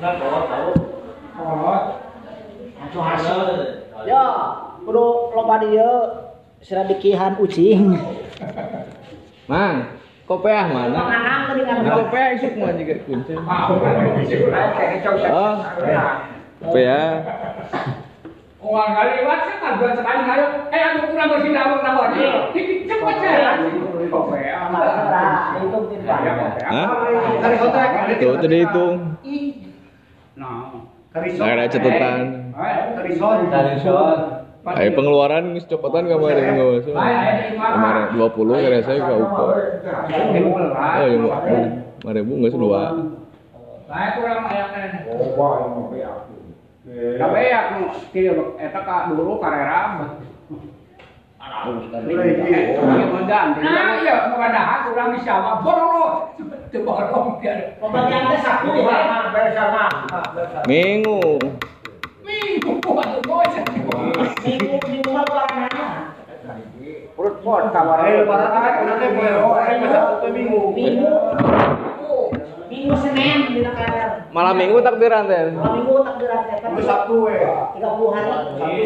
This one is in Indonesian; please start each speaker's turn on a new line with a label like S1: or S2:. S1: 난 먹어, tahu. Cuma asal.
S2: Ya, kudu loba dieu seradikihan ucing.
S3: Mang, kopeah mana?
S2: Mangang tadi kan.
S3: Nah, kopeah isuk mah juga kunci. Oh, kopeah.
S4: Orang kali lewat saya tak buat sekali ngayo. Eh aku kurang bersih dah kurang bawa ni. Ini cepat saya.
S2: itu tidak.
S3: Hah? Tuh tadi hitung. Nggak ada catatan. Ayo pengeluaran geus copotan kemarin nggak masuk. Kemarin 20 karena saya ke UPO. Oh, ya mau. Kemarin bu nggak dua.
S4: Saya kurang ayakkan. Tapi aku tidak eta ka dulu karera. Ini menggan. Nah, iya mengadah kurang bisa mah borong. Teu borong dia.
S2: Pembagian teh sapu ya.
S3: Minggu.
S4: Minggu waduh bocah.
S2: Minggu minggu mah kurang nanya. Oh, eh, Minggu minggu Senin di kalender.
S3: Malam minggu takbiran teh.
S2: Malam minggu takbiran teh kan.
S5: Sabtu, eh.
S2: 30 hari.